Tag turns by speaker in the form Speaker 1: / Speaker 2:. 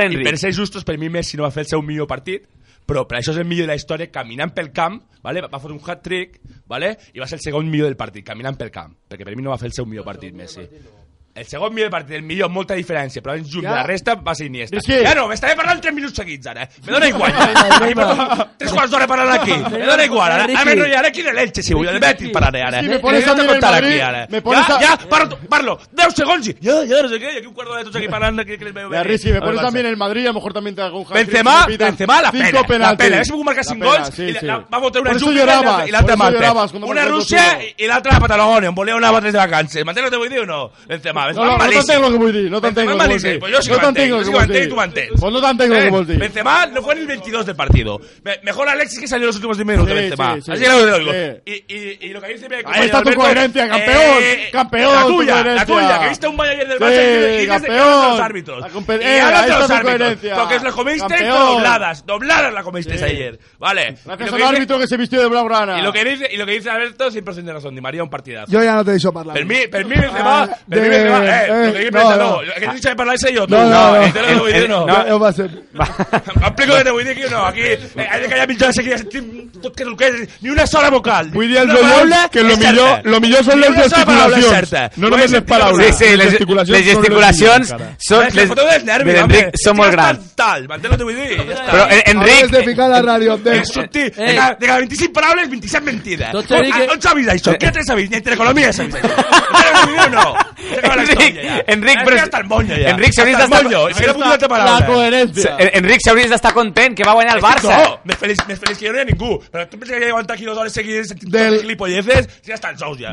Speaker 1: I per ser justos, per mi Messi no va fer el seu millor partit, però per això és el millor de la història, caminant pel camp, vale? va fotre un hat-trick vale? i va ser el segon millor del partit, caminant pel camp, perquè per mi no va fer el seu millor partit, Messi. El segon millor del partit, el millor, amb molta diferència, però en junt de la resta va ser Iniesta.
Speaker 2: Riqui.
Speaker 1: Ja no, m'estaré parlant 3 minuts seguits, ara. Eh? Me dóna igual, ja. Ahí porto Tres quarts d'hora parlant aquí. Me dóna igual, ara. Ara, no, ara aquí de l'Elche, si vull, del Betis parlaré, ara.
Speaker 2: Sí, me pones
Speaker 1: Ja
Speaker 2: a mi
Speaker 1: t'he
Speaker 2: del
Speaker 1: contat
Speaker 2: Madrid,
Speaker 1: aquí, ara.
Speaker 2: me pones
Speaker 1: ja,
Speaker 2: a-
Speaker 1: ja, parlo, parlo, 10 segons i ja, ja, no sé què, i aquí un quart d'hora tots aquí parlant que, que les veu
Speaker 2: La
Speaker 1: venir.
Speaker 2: Rizzi, me
Speaker 1: Al
Speaker 2: pones
Speaker 1: Barça.
Speaker 2: también el Madrid, a lo mejor también te hago un hat-trick,
Speaker 1: Benzema,
Speaker 2: te pitan
Speaker 1: Benzema, la
Speaker 2: cinco
Speaker 1: pena, la
Speaker 2: penaltis.
Speaker 1: pena. Hauria pogut marcar
Speaker 2: La
Speaker 1: 5
Speaker 2: pena,
Speaker 1: gols
Speaker 2: sí,
Speaker 1: i la,
Speaker 2: sí.
Speaker 1: la, va votar una
Speaker 2: Por eso
Speaker 1: Júpiter i l'altra-
Speaker 2: llorabas,
Speaker 1: i l'altra
Speaker 2: por eso llorabas
Speaker 1: Marte.
Speaker 2: cuando
Speaker 1: Una eh,
Speaker 2: marcas dos
Speaker 1: Rússia
Speaker 2: gols.
Speaker 1: i l'altra la Patagònia, on volia una va tres de vacances. M'entens el que vull dir o no? Benzema,
Speaker 2: No,
Speaker 1: Benzema
Speaker 2: no, no
Speaker 1: malíssim.
Speaker 2: t'entenc el que vull dir, no t'entenc
Speaker 1: Benzema
Speaker 2: el que vols
Speaker 1: malíssim,
Speaker 2: dir.
Speaker 1: pues jo sí que
Speaker 2: No t'entenc
Speaker 1: m'entenc, jo
Speaker 2: el
Speaker 1: sí
Speaker 2: que
Speaker 1: que
Speaker 2: vols
Speaker 1: m'entenc i
Speaker 2: dir.
Speaker 1: tu m'entens.
Speaker 2: Pues no t'entenc el que
Speaker 1: Eh,
Speaker 2: vols dir.
Speaker 1: Benzema no fue en el 22 del partido. Me- mejor Alexis que salió en los últimos 10 minutos,
Speaker 2: Sí,
Speaker 1: Benzema.
Speaker 2: sí, sí.
Speaker 1: Así que lo digo.
Speaker 2: Sí.
Speaker 1: Y, y, y lo que dice mi compañero
Speaker 2: Ahí está tu
Speaker 1: Alberto, eh,
Speaker 2: coherencia, campeón, campeón,
Speaker 1: La
Speaker 2: tu
Speaker 1: tuya, la
Speaker 2: coherencia.
Speaker 1: tuya, que viste un Bayern del
Speaker 2: Sí,
Speaker 1: Barça y dices- y dices que hablan
Speaker 2: campeón.
Speaker 1: los árbitros.
Speaker 2: La compe-
Speaker 1: Y
Speaker 2: eh,
Speaker 1: hablan
Speaker 2: ahí
Speaker 1: de los
Speaker 2: está tu
Speaker 1: árbitros,
Speaker 2: coherencia.
Speaker 1: Porque os lo comisteis pero
Speaker 2: Campeón.
Speaker 1: dobladas, dobladas la comisteis
Speaker 2: Sí.
Speaker 1: ayer. Vale.
Speaker 2: Gracias
Speaker 1: Y lo
Speaker 2: al
Speaker 1: que dice-
Speaker 2: árbitro que se vistió de Blaugrana.
Speaker 1: Y lo que dice, y lo que dice Alberto, 100% de razón. Di María, un partidazo.
Speaker 3: Yo ya no te he dicho hablar.
Speaker 1: Per mi, per mi Benzema,
Speaker 3: Ah,
Speaker 1: per mi
Speaker 3: de-
Speaker 1: Benzema, eh,
Speaker 3: eh,
Speaker 1: lo que dice
Speaker 3: no,
Speaker 1: Benzema,
Speaker 3: no.
Speaker 1: no. El que he dicho de parlar ese yo, tú.
Speaker 3: No, no, no.
Speaker 1: este lo que dice, no.
Speaker 3: No, no va a ser.
Speaker 1: Em, Explico que no vull dir que no, aquí eh, ha de callar mitja hora seguida sentim tot que toqués, ni una sola vocal.
Speaker 4: Vull dir als
Speaker 1: Una
Speaker 4: oients
Speaker 1: paraula
Speaker 4: que lo
Speaker 1: és certa.
Speaker 4: millor- lo millor són
Speaker 1: Ni
Speaker 4: les
Speaker 1: una sola paraula és
Speaker 4: gesticulacions,
Speaker 1: certa.
Speaker 4: no
Speaker 1: No
Speaker 4: només
Speaker 1: he
Speaker 4: les
Speaker 1: sentit
Speaker 4: paraules.
Speaker 1: una.
Speaker 5: Sí, sí, les, les gesticulacions són...
Speaker 1: És que foteu dels nervis,
Speaker 5: de l'Enric
Speaker 1: home.
Speaker 5: són
Speaker 1: És que
Speaker 5: molt
Speaker 1: has
Speaker 5: grans.
Speaker 1: estat Tal, m'entens el que vull dir? Ja està.
Speaker 5: Però, eh,
Speaker 3: Enric.
Speaker 5: Enric,
Speaker 3: de ficar la radio. Abdel.
Speaker 1: És subtil. De cada, de cada 25 paraules, 27 mentides. Ah,
Speaker 6: Tot s'ha dit que-
Speaker 1: On, on s'ha vist això? Què te s'ha vist? Ni entre economia s'ha vist això. Encara no ho no?
Speaker 5: Enric, Enric, però...
Speaker 1: però... Està el monyo, ja.
Speaker 5: Enric, s'hauries
Speaker 1: Està el
Speaker 5: d'estar...
Speaker 1: monyo. I m'he apuntat de
Speaker 2: La
Speaker 1: paraula.
Speaker 2: coherencia.
Speaker 5: Eh, Enric, s'hauries d'estar content que va guanyar el Barça.
Speaker 1: No, més feliç, més feliç que jo no hi ha ningú. Però tu penses que hi ha aguantar aquí dues hores seguides sentint
Speaker 3: Del-
Speaker 1: Del... gilipolleces, ja estan sous, ja.